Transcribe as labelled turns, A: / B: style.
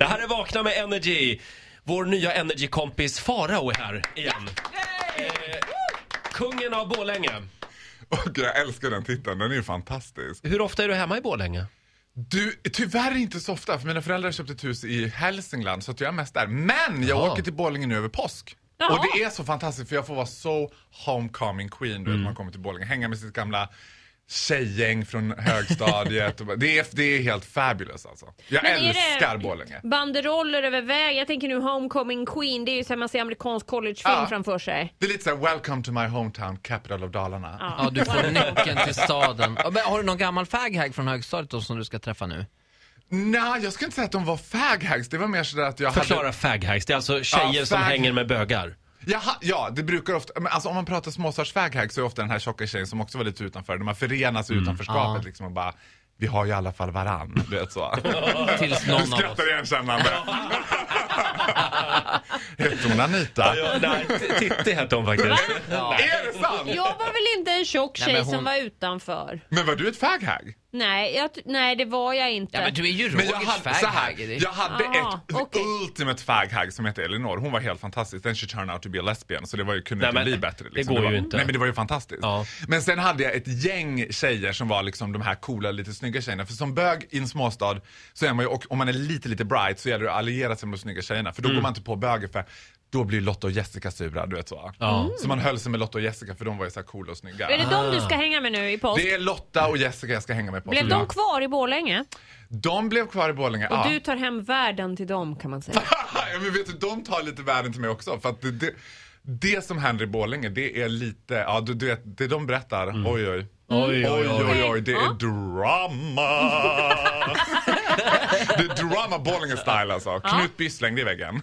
A: här är Vakna med Energy. Vår nya Energy-kompis Farao är här igen. Eh, Kungen av Borlänge.
B: Och jag älskar den titeln, den är ju fantastisk.
A: Hur ofta är du hemma i Borlänge?
B: Du, tyvärr inte så ofta, för mina föräldrar köpte ett hus i Hälsingland så att jag är mest där. Men jag
A: Jaha.
B: åker till Borlänge nu över påsk.
C: Jaha.
B: Och det är så fantastiskt för jag får vara så homecoming queen
A: Mm.
B: du vet, när man kommer till Borlänge. Hänga med sitt gamla tjejgäng från högstadiet. och bara- det, är, det är helt fabulous alltså. Jag
C: Men är det-
B: älskar Borlänge.
C: Banderoller över väg. Jag tänker nu Homecoming Queen. Det är ju så här man ser amerikansk collegefilm
B: Ja.
C: framför sig.
B: Det är lite såhär, welcome to my hometown, capital of Dalarna.
C: Ja.
D: Ja, du får nyckeln till staden. Ja, men Har du någon gammal faghag från högstadiet då, som du ska träffa nu?
B: Nej, jag skulle inte säga att de var faghags. Det var mer sådär att jag hade...
A: Förklara faghags. Det är alltså tjejer
B: Ja,
A: som
B: fag-
A: hänger med bögar.
B: Jaha, ja, det brukar ofta, men alltså om man pratar småstadsväghag så är ofta den här tjocka tjejen som också var lite utanför, när man förenas i utanförskapet
D: Mm. Ja.
B: liksom och bara vi har ju i alla fall varann, du vet så.
D: Tills
B: Du
D: någon av oss...
B: skrattar igenkännande. Hette hon Anita?
A: nej, t- Titti hette hon faktiskt.
D: Ja.
B: Är det sant?
C: Jag var väl inte en tjock
D: Nej,
C: tjej
D: men
C: som
D: hon-
C: var utanför?
B: Men var du ett faghag?
C: Nej, jag, t- nej det var jag inte.
D: Ja, men du är ju
B: Men jag
D: Rogers
B: hade, så här,
D: faghag.
B: jag hade
C: Ah,
B: ett
C: okej.
B: ultimate faghag som hette Elinor. Hon var helt fantastisk. Then she turned out to be a lesbian så det var ju, kunde
A: Nej,
B: inte
A: men
B: bli bättre.
A: det
B: Liksom.
A: går
B: var,
A: ju inte.
B: Nej men det var ju fantastiskt.
A: Ja.
B: Men sen hade jag ett gäng tjejer som var liksom de här coola, lite snygga tjejerna. För som bög i en småstad så är man ju, och om man är lite, lite bright så gäller det att alliera sig med de snygga tjejerna.
A: Mm.
B: För då går man inte på böger för då blir Lotta och Jessica sura, du vet så. Mm.
A: Ja.
B: Så man höll sig med Lotta och Jessica för de var ju så här coola och snygga.
C: Är det de
D: Ah.
C: du ska hänga med nu i påsk?
B: Det är Lotta och Jessica jag ska hänga med på.
C: Blev de kvar i Borlänge?
B: de blev kvar i Borlänge.
C: Och
B: ja.
C: du tar hem världen till dem kan man säga.
B: Ja, men vet du, de tar lite värden till mig också. För att det, det, det som händer i Borlänge, det är lite, ja du, du vet, det de berättar, oj oj.
A: Oj,
B: Oj, oj, oj, det
C: Ja.
B: är drama! det är drama Borlänge-style alltså. Knut Byss i väggen.